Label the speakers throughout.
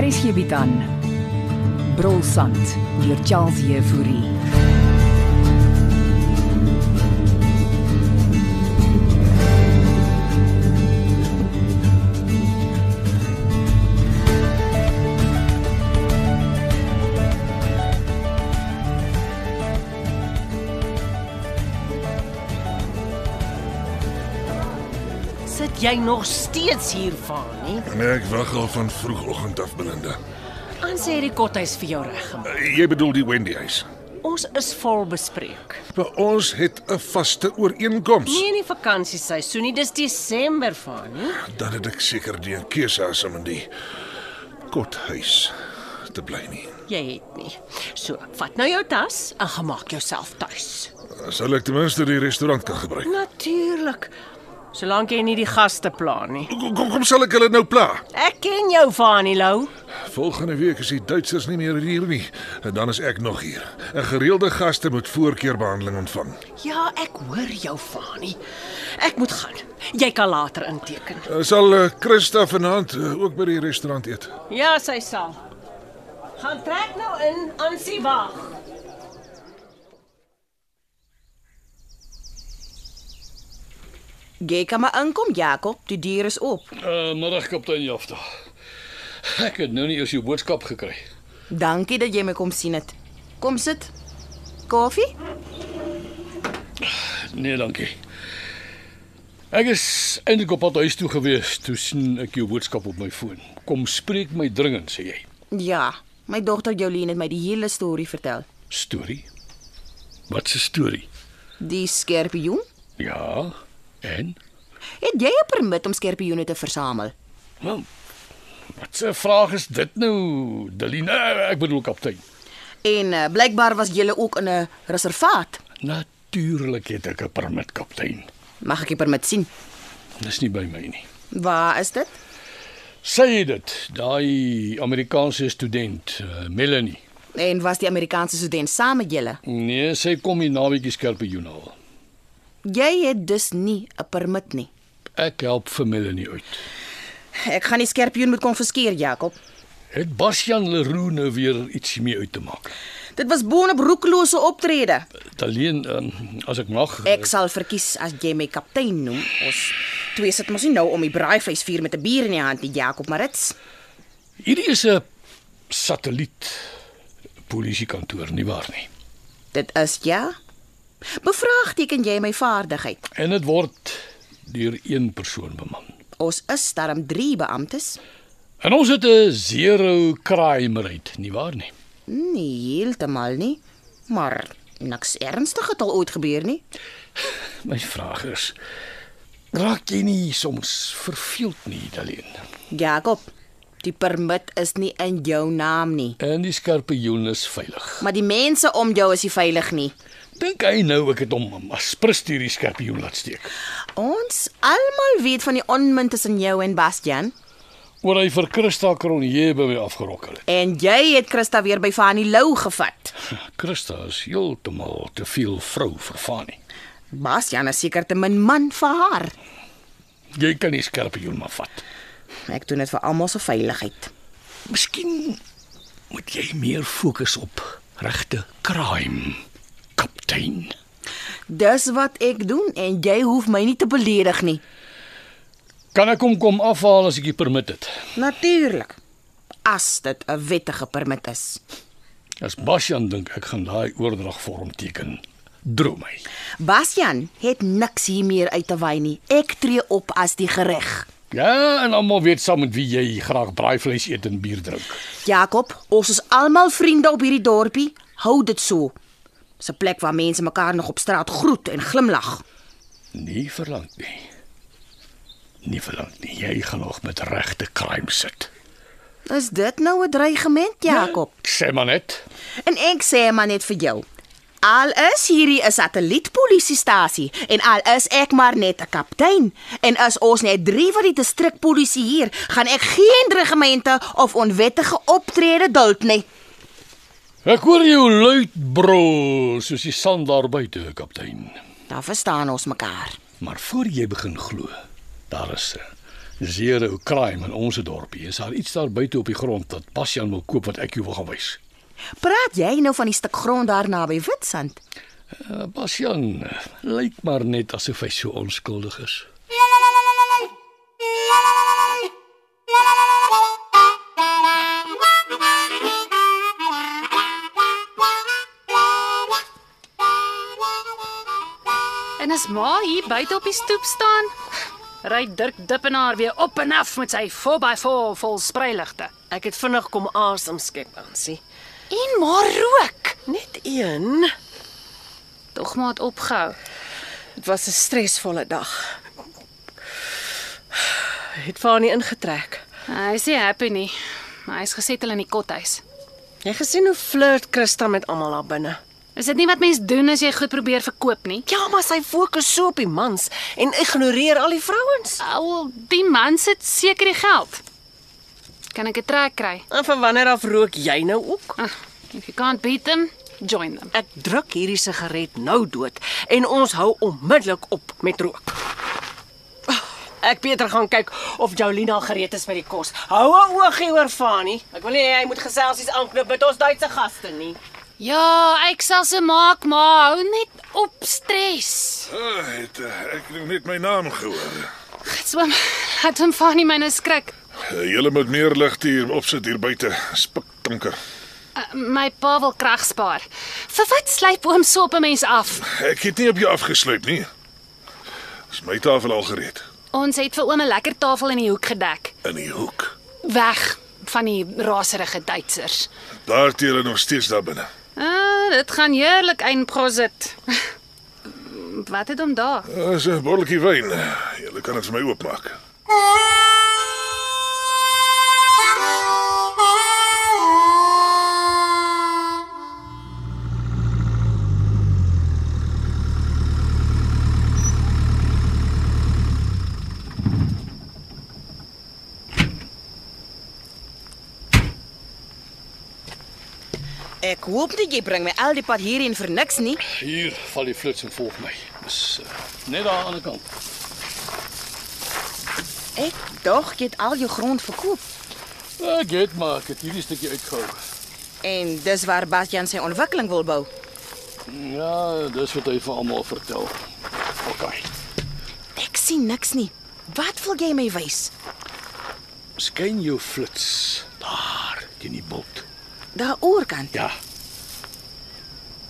Speaker 1: Hier is hierby dan. Brolsand deur Charles Jefouri.
Speaker 2: Sit jy nog steeds hier van nie?
Speaker 3: Nee, ek wag al van vroegoggend af, Belinda.
Speaker 2: Ons het die kothuis vir jou reggemaak.
Speaker 3: Eh, Jy bedoel die Wendy huis.
Speaker 2: Ons is vol bespreek.
Speaker 3: Maar ons het 'n vaste ooreenkoms.
Speaker 2: Nie in die vakansieseisoen nie, dis Desember van nie.
Speaker 3: Dan het ek seker die keuse as om in die kothuis te bly nie.
Speaker 2: Jy het nie. So, vat nou jou tas en gemaak jouself tuis.
Speaker 3: Sal ek ten minste die restaurant kan gebruik.
Speaker 2: Natuurlik. Solank jy nie die gaste pla nie.
Speaker 3: Kom kom, kom sal ek hulle nou pla.
Speaker 2: Ek ken jou van nie, Lou.
Speaker 3: Volgende week is die Duitsers nie meer hier nie en dan is ek nog hier. 'n Gereelde gaste moet voorkeurbehandeling ontvang.
Speaker 2: Ja, ek hoor jou van nie. Ek moet gaan. Jy kan later inteken.
Speaker 3: Eh, Sal eh, Christa vanaand eh, ook by die restaurant eet?
Speaker 2: Ja, sy sal. Gaan trek nou in, Ansie wag.
Speaker 4: Jy kan maar inkom, Jakob. Die dier is op.
Speaker 5: Uh, middag kaptein Jafta. Ek het nou nie eers jou boodskap gekry.
Speaker 4: Dankie dat jy my kom sien het. Kom sit. Koffie?
Speaker 5: Nee, dankie. Ek is eintlik op pad huis toe gewees toe sien ek jou boodskap op my foon. Kom spreek my dringend, sê jy.
Speaker 4: Ja, my dogter Jolien het my die hele storie vertel.
Speaker 5: Storie? Wat 'n storie?
Speaker 4: Die skerpioen?
Speaker 5: Ja. En?
Speaker 4: Het jy 'n permit om skerpioene te versamel?
Speaker 5: Nou, wat 'n vraag is dit nou, Delina? Ek bedoel kaptein.
Speaker 4: En uh, blykbaar was jy ook in 'n reservaat.
Speaker 5: Natuurlik het ek 'n permit, kaptein.
Speaker 4: Mag ek die permit sien?
Speaker 5: Dis nie by my nie.
Speaker 4: Waar is dit?
Speaker 5: Sê dit, daai Amerikaanse student, uh, Melanie.
Speaker 4: En was die Amerikaanse student saam met julle?
Speaker 5: Nee, sy kom hier naweekie skerpioen haal.
Speaker 4: Jy het dus nie 'n permit nie.
Speaker 5: Ek help vir Melanie uit.
Speaker 4: Ek gaan die skerpioen moet konfiskeer, Jakob.
Speaker 5: Het Basjan Leroux nou weer iets mee uit te maak?
Speaker 4: Dit was boonop roekelose optrede.
Speaker 5: Alleen um, as ek mag.
Speaker 4: Ek sal verkies as jy my kaptein noem. Ons twee sit mos nie nou om die braaivleisvuur met 'n bier in die hand nie, Jakob Marits.
Speaker 5: Hierdie is 'n satelliet polisiekantoor nie waar nie.
Speaker 4: Dit is ja. Bevraagteken jy my vaardigheid?
Speaker 5: En dit word deur een persoon beman.
Speaker 4: Ons is darm 3 beamptes.
Speaker 5: En ons het 'n zero crime rate, nie waar nie?
Speaker 4: Nee, heeltemal nie. Maar niks ernstig het al ooit gebeur nie.
Speaker 5: My vraag is raak jy nie soms verveeld nie, Daleen?
Speaker 4: Jakob, die permit is nie in jou naam nie,
Speaker 5: En die skerpioen is veilig.
Speaker 4: maar die mense om jou is nie veilig nie.
Speaker 5: Dink hy nou ek het hom as prins hierdie skerpioen laat steek?
Speaker 4: Ons almal weet van die onmin tussen jou en Bastian.
Speaker 5: oor hy vir Christa Cronje by my afgerokkel het.
Speaker 4: En jy het Christa weer by Fanny Lou gevat.
Speaker 5: Christa is heeltemal te veel vrou vir Fanie.
Speaker 4: Bastian is seker te min man vir haar.
Speaker 5: Jy kan nie skerpioen maar vat.
Speaker 4: Ek doen dit vir almal se veiligheid.
Speaker 5: Miskien moet jy meer fokus op regte crime, kaptein.
Speaker 4: Dis wat ek doen en jy hoef my nie te beledig nie.
Speaker 5: Kan ek hom kom afhaal as ek die permit het?
Speaker 4: Natuurlik. As dit 'n wettige permit is.
Speaker 5: As Basjan dink ek gaan daai oordragvorm teken. Droom hy.
Speaker 4: Bastian het niks hier meer uit te wy nie. Ek tree op as die gereg.
Speaker 5: Ja, en almal weet saam met wie jy graag braaivleis eet en bier drink.
Speaker 4: Jakob, ons is almal vriende op hierdie dorpie. Hou dit so. Dis 'n plek waar mense mekaar nog op straat groet en glimlag.
Speaker 5: Nie verlang nie. Nie verlang nie. Jy gaan nog met regte crime sit.
Speaker 4: Is dit nou 'n dreigement, Jakob?
Speaker 5: Ek sê maar net,
Speaker 4: En ek sê maar net vir jou. Al is hierdie 'n satellietpolisiestasie en al is ek maar net 'n kaptein en as ons net 3 wat die distrik polisieer, gaan ek geen dreigemente of onwettige optrede duld nie.
Speaker 5: Ek hoor jou luid brul soos die sand daar buite, kaptein.
Speaker 4: Dan verstaan ons mekaar.
Speaker 5: Maar voor jy begin glo, daar is 'n zero crime in ons dorpie. Is daar iets daar buite op die grond dat Basjan wil koop wat ek jou wil gaan wys?
Speaker 4: Praat jy nou van die stuk grond daar naby Witstrand?
Speaker 5: Uh, Basjan eh, lyk maar net asof hy so onskuldig is.
Speaker 6: En as ma hier buite op die stoep staan, ry Dirk Dippenaar weer op en af met sy 4x4 vol spreiligte.
Speaker 2: Ek het vinnig kom asem skep, Ansie.
Speaker 6: En maar rook.
Speaker 2: Net een.
Speaker 6: Tog maar het opgehou.
Speaker 2: Dit was 'n stresvolle dag. Het Fani ingetrek.
Speaker 6: Hy is nie happy nie. Maar hy's gesettel in die kothuis.
Speaker 2: Jy gesien hoe flirt Christa met almal daar binne.
Speaker 6: Is dit nie wat mense doen as jy goed probeer verkoop nie?
Speaker 2: Ja, maar sy fokus so op die mans en ignoreer al die vrouens.
Speaker 6: Al die man sit seker die geld. Kan ek 'n trek kry?
Speaker 2: En van wanneer af rook jy nou ook?
Speaker 6: Ah, If you can't beat them, join them.
Speaker 2: Ek druk hierdie sigaret nou dood en ons hou onmiddellik op met rook. Ek beter gaan kyk of Jolina gereed is met die kos. Hou 'n oogie oor Fani. Ek wil nie hy moet geselsies aanknip met ons Duitse gaste nie.
Speaker 6: Ja, ek sal se maak, maar hou net op stres.
Speaker 3: Ah, het eh, ek nog net my naam gehoor.
Speaker 6: Swem, het hom van nie my nou skrik.
Speaker 3: Eh, Julle moet meer lig hier opsit hier buite. Spikdonker.
Speaker 6: Uh, my pa wil krag spaar. Vir wat slyp oom so op 'n mens af?
Speaker 3: Ek het nie op jou afgesluip nie. Is my tafel al gereed
Speaker 6: Ons het vir oom 'n lekker tafel in die hoek gedek.
Speaker 3: in die hoek.
Speaker 6: Weg van die raserige Duitsers.
Speaker 3: Daar het julle nog steeds daar binne.
Speaker 6: Ah, dit gaan heerlik eindprosit. Wat het hom daar?
Speaker 3: Daar's 'n botteltjie wyn. Eh, Julle kan dit vir my oopmaak.
Speaker 4: Ek hoop nie jy bring my al die pad hierheen vir niks nie.
Speaker 5: Hier val die flits en volg my. Dis uh, net daar aan die kant.
Speaker 4: Ek dog jy het al jou grond verkoop
Speaker 5: Ek het maar ek het hierdie stukkie uitgehou.
Speaker 4: en dis waar Bastian sy ontwikkeling wil bou.
Speaker 5: Ja, dis wat hy vir almal vertel. OK.
Speaker 4: Ek sien niks nie. Wat wil jy my wys?
Speaker 5: Skyn jou flits daar teen die bult.
Speaker 4: Daaroor kan.
Speaker 5: Ja.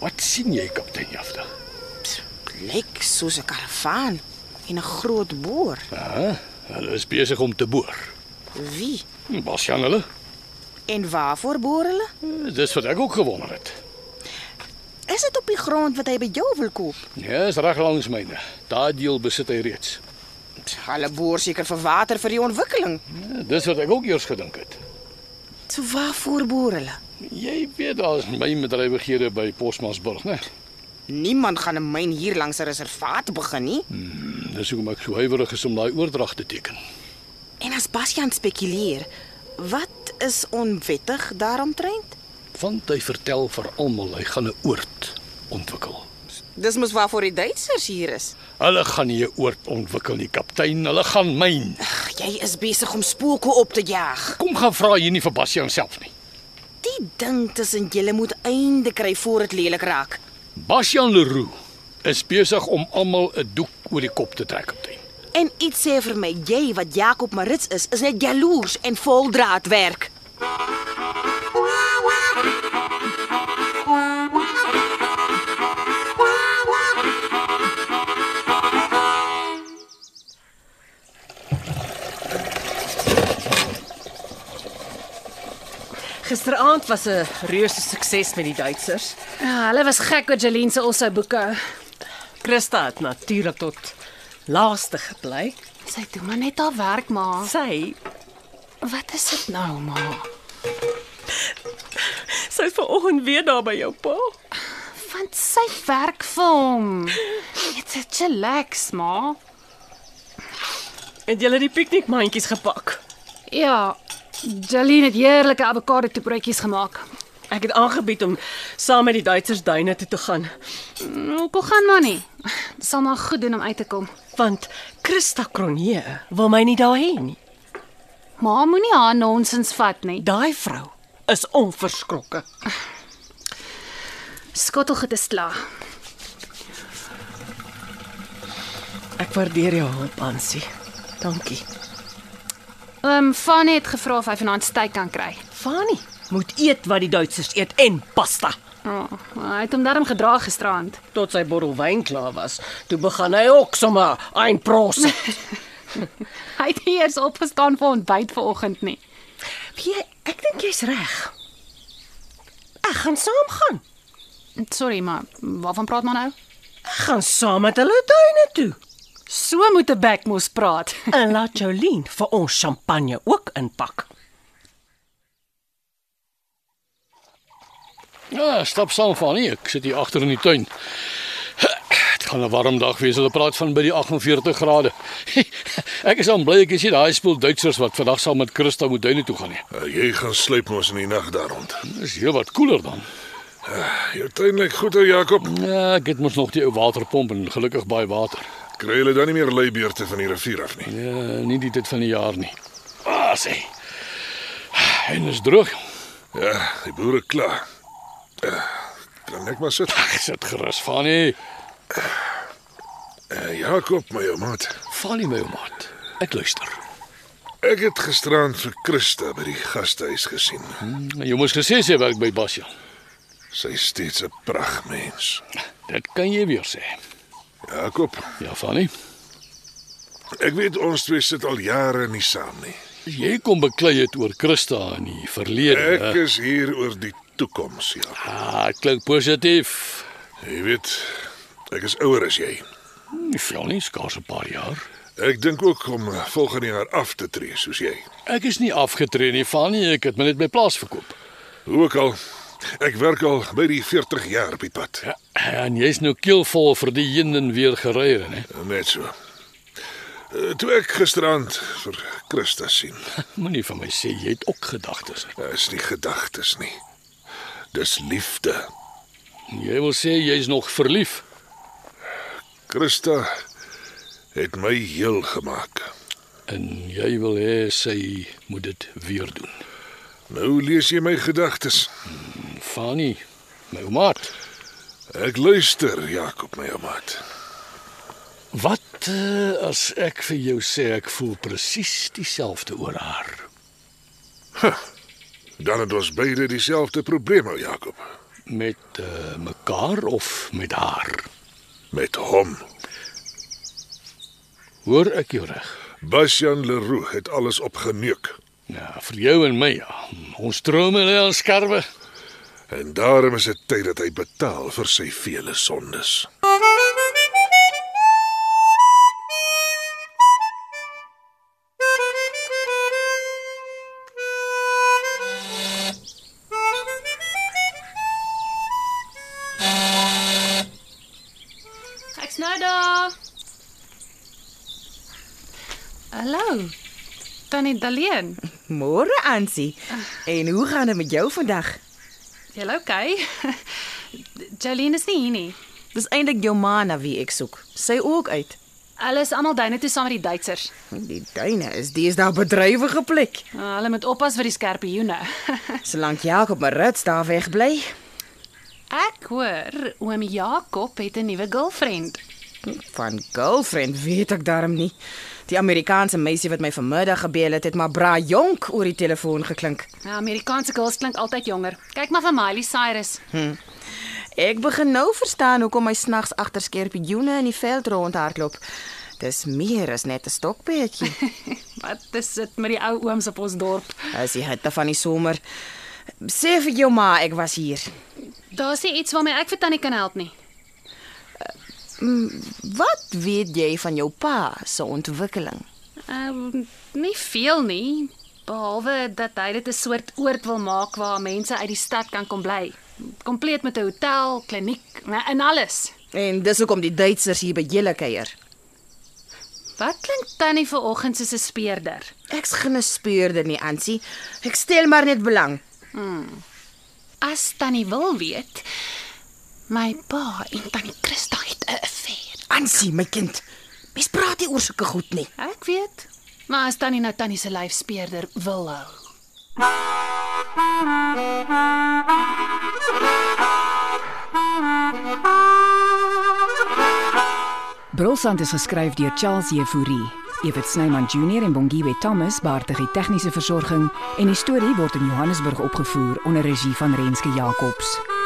Speaker 5: Wat sien jy, kaptein Jafta?
Speaker 4: Lyk soos 'n karavaan en 'n groot boor.
Speaker 5: Ja, hulle is besig om te boor.
Speaker 4: Wie?
Speaker 5: Was jy hulle?
Speaker 4: En waarvoor boor hulle?
Speaker 5: Eh, Dis wat ek ook gewonder het.
Speaker 4: Is dit op die grond wat hy by jou wil koop?
Speaker 5: Ja, is reg langs myne. Daardie deel besit hy reeds.
Speaker 4: Pst, Hulle boor seker vir water vir die ontwikkeling.
Speaker 5: Ja, dis wat ek ook eers gedink het.
Speaker 4: So waarvoor boor hulle?
Speaker 5: Jy weet daar's my bedrywighede by Posmasburg, né?
Speaker 4: Niemand gaan 'n myn hier langs 'n reservaat begin nie.
Speaker 5: Dis hoekom ek so huiwerig is om daai oordrag te teken.
Speaker 4: En as Bastian spekuleer, wat is onwettig daaromtrent?
Speaker 5: Want hy vertel vir almal hy gaan 'n oord ontwikkel.
Speaker 4: Dis mos waarvoor die Duitsers hier is.
Speaker 5: Hulle gaan nie 'n oord ontwikkel nie, kaptein. Hulle gaan myn.
Speaker 4: Ag, jy is besig om spooke op te jaag.
Speaker 5: Kom gaan vra hier nie vir Basie homself nie.
Speaker 4: Die ding tussen julle moet einde kry voor dit lelik raak.
Speaker 5: Basjan Leroux is besig om almal 'n doek oor die kop te trek, kaptein.
Speaker 4: En iets sê vir my, jy wat Jakob Marits is, is net jaloers en vol draadwerk.
Speaker 2: Gisteraand was 'n reuse sukses met die Duitsers.
Speaker 6: Ja, hulle was gek oor Jeline se Osso boeke.
Speaker 2: Christa het natuurlik tot laaste gebly.
Speaker 6: Sy doen maar net haar werk, ma.
Speaker 2: Sy
Speaker 6: Wat is dit nou, ma?
Speaker 2: sy is vanoggend weer daar by jou pa.
Speaker 6: want sy werk vir hom. Net chillax, ma.
Speaker 2: Het julle die piknikmandjies gepak?
Speaker 6: Ja, Jolene het heerlike avokado toebroodjies gemaak.
Speaker 2: Ek het aangebied om saam met die Duitsers duine toe te gaan,
Speaker 6: Hoekom gaan maar nie? Dit sal maar goed doen om uit te kom.
Speaker 2: want Christa Kronje wil my nie daar hê nie.
Speaker 6: Ma moenie haar nonsens vat nie.
Speaker 2: Daai vrou is onverskrokke.
Speaker 6: Skottelgoed is klaar.
Speaker 2: Ek waardeer jou hulp, Ansie. Dankie.
Speaker 6: Ehm um, Fanny het gevra of hy vanaand steak kan kry.
Speaker 2: Fani moet eet wat die Duitsers eet en pasta.
Speaker 6: Oh, hy het hom darm gedra gisterand.
Speaker 2: Tot sy bottel wyn klaar was, toe begin hy ook sommer een proos.
Speaker 6: Hy het nie eers opgestaan vir ontbyt vanoggend nie.
Speaker 2: Jy, ek dink jy's reg. Ek gaan saam gaan.
Speaker 6: Sorry, maar waarvan praat maar nou?
Speaker 2: Ek gaan saam met hulle tuine toe.
Speaker 6: So moet 'n bek mos praat.
Speaker 2: En laat Jolien vir ons champagne ook inpak.
Speaker 5: Ja, stap saam van hier. Ek sit hier agter in die tuin. Dit gaan 'n warm dag wees. Hulle praat van by die 48 grade. Ek is al bly ek is nie daai spul Duitsers wat vandag saam met Christa moet duine toe gaan nie.
Speaker 3: Uh, jy gaan sluip mos in die nag daar rond.
Speaker 5: Dis heel wat koeler dan.
Speaker 3: Jou tuin lyk goed, eh, ou Jakob.
Speaker 5: Ja, ek het mos nog die ou waterpomp en gelukkig baie water.
Speaker 3: Kry hulle dan nie meer leibeerte van die rivier af nie.
Speaker 5: Ja, nie die tyd van die jaar nie. Ah, sê. En is droog.
Speaker 3: Ja, die boere klaar. Uh, kan ek maar sit.
Speaker 5: Ek sit gerus van nie.
Speaker 3: Uh, Jakob, my ou maat.
Speaker 5: Val nie my om maat. Ek luister.
Speaker 3: Ek het gisteraan vir Christa by die gastehuis gesien.
Speaker 5: Jy moes gesê sy werk by Basja.
Speaker 3: Sy's steeds 'n pragtmens.
Speaker 5: Dit kan jy weer sê.
Speaker 3: Jakob,
Speaker 5: Ja, Fanny.
Speaker 3: ek weet ons twee sit al jare nie saam nie.
Speaker 5: Jy kom beklei het oor Christa in die verlede.
Speaker 3: Ek is hier oor die toekoms, ja.
Speaker 5: Ah, klink positief.
Speaker 3: Jy weet, ek is ouer as jy.
Speaker 5: Nie veel nie, skaars 'n paar jaar.
Speaker 3: Ek dink ook om eh, volgende jaar af te tree soos jy.
Speaker 5: Ek is nie afgetree nie, Fanny, ek het my net my plaas verkoop.
Speaker 3: Hoe ook al, ek werk al by die 40 jaar op die pad.
Speaker 5: Ja, en jy's nou keelvol vir die heen en weer gery, hè.
Speaker 3: Net so. Eh, Toe ek gisterand vir Christa sien,
Speaker 5: Moenie vir my sê jy het ook gedagtes nie.
Speaker 3: is nie gedagtes nie. Dis liefde.
Speaker 5: Jy wil sê jy's nog verlief.
Speaker 3: Christa het my heel gemaak.
Speaker 5: En jy wil hê sy moet dit weer doen.
Speaker 3: Nou lees jy my gedagtes.
Speaker 5: Fanny, my ou maat.
Speaker 3: Ek luister, Jakob my ou maat.
Speaker 5: Wat eh, as ek vir jou sê ek voel presies dieselfde oor haar?
Speaker 3: Dan het ons beide dieselfde probleem, ou Jakob,
Speaker 5: Met uh, mekaar of met haar?
Speaker 3: met hom.
Speaker 5: Hoor ek jou reg?
Speaker 3: Basjan Leroux het alles opgeneuk
Speaker 5: Ja, vir jou en my ja. Ons drome lê aan skerwe.
Speaker 3: en daarom is dit tyd dat hy betaal vir sy vele sondes.
Speaker 6: Ek's nou daar. Hallo. Tannie Daleen.
Speaker 4: Môre Ansie. En hoe gaan dit met jou vandag?
Speaker 6: Jy okay? Jolene is nie hier nie.
Speaker 4: Dis eintlik jou ma na wie ek soek. Sy ook uit.
Speaker 6: Hulle is almal duine toe saam met die Duitsers.
Speaker 4: Die duine is deesdae 'n bedrywige plek.
Speaker 6: Uh, hulle moet oppas vir die skerpioene.
Speaker 4: Solank Jakob Marits daar wegbly,
Speaker 6: Ek hoor oom Jakob het 'n nuwe girlfriend.
Speaker 4: van girlfriend weet ek darm nie. Die Amerikaanse meisie wat my vanmiddag gebel het, het maar bra jonk oor die telefoon geklink.
Speaker 6: Nou, Amerikaanse girls klink altyd jonger. Kyk maar vir Miley Cyrus.
Speaker 4: Ek begin nou verstaan hoekom hy snags agter skerpioene in die veld rondhardloop. Dis meer as net 'n stokperdjie.
Speaker 6: Wat is dit met die ou ooms op ons dorp?
Speaker 4: Dis die hitte van die somer. Sê vir jou ma ek was hier.
Speaker 6: Daar's nie iets waarmee ek vir Tannie kan help nie.
Speaker 4: Wat weet jy van jou pa se ontwikkeling?
Speaker 6: Ehm nie veel nie, behalwe dat hy dit 'n soort oord wil maak waar mense uit die stad kan kom bly. kompleet met 'n hotel, kliniek na- en alles.
Speaker 4: En dis hoekom die Duitsers hier by julle kuier.
Speaker 6: Wat klink tannie vanoggend soos 'n speerder?
Speaker 4: Ek's geen speurder nie, Ansie. Ek stel maar net belang.
Speaker 6: As tannie wil weet, my pa en tannie Christa het 'n affair.
Speaker 4: Ansie, my kind. Mens praat nie oor sulke goed nie.
Speaker 6: Ek weet, maar as tannie nou tannie se lyf speerder wil hou.
Speaker 1: Brolsand is geskryf deur Charles Jefouri. Evit Snyman Junior en Bongwe Thomas baartig die tegniese versorging en die storie word in Johannesburg opgevoer onder regie van Renske Jacobs.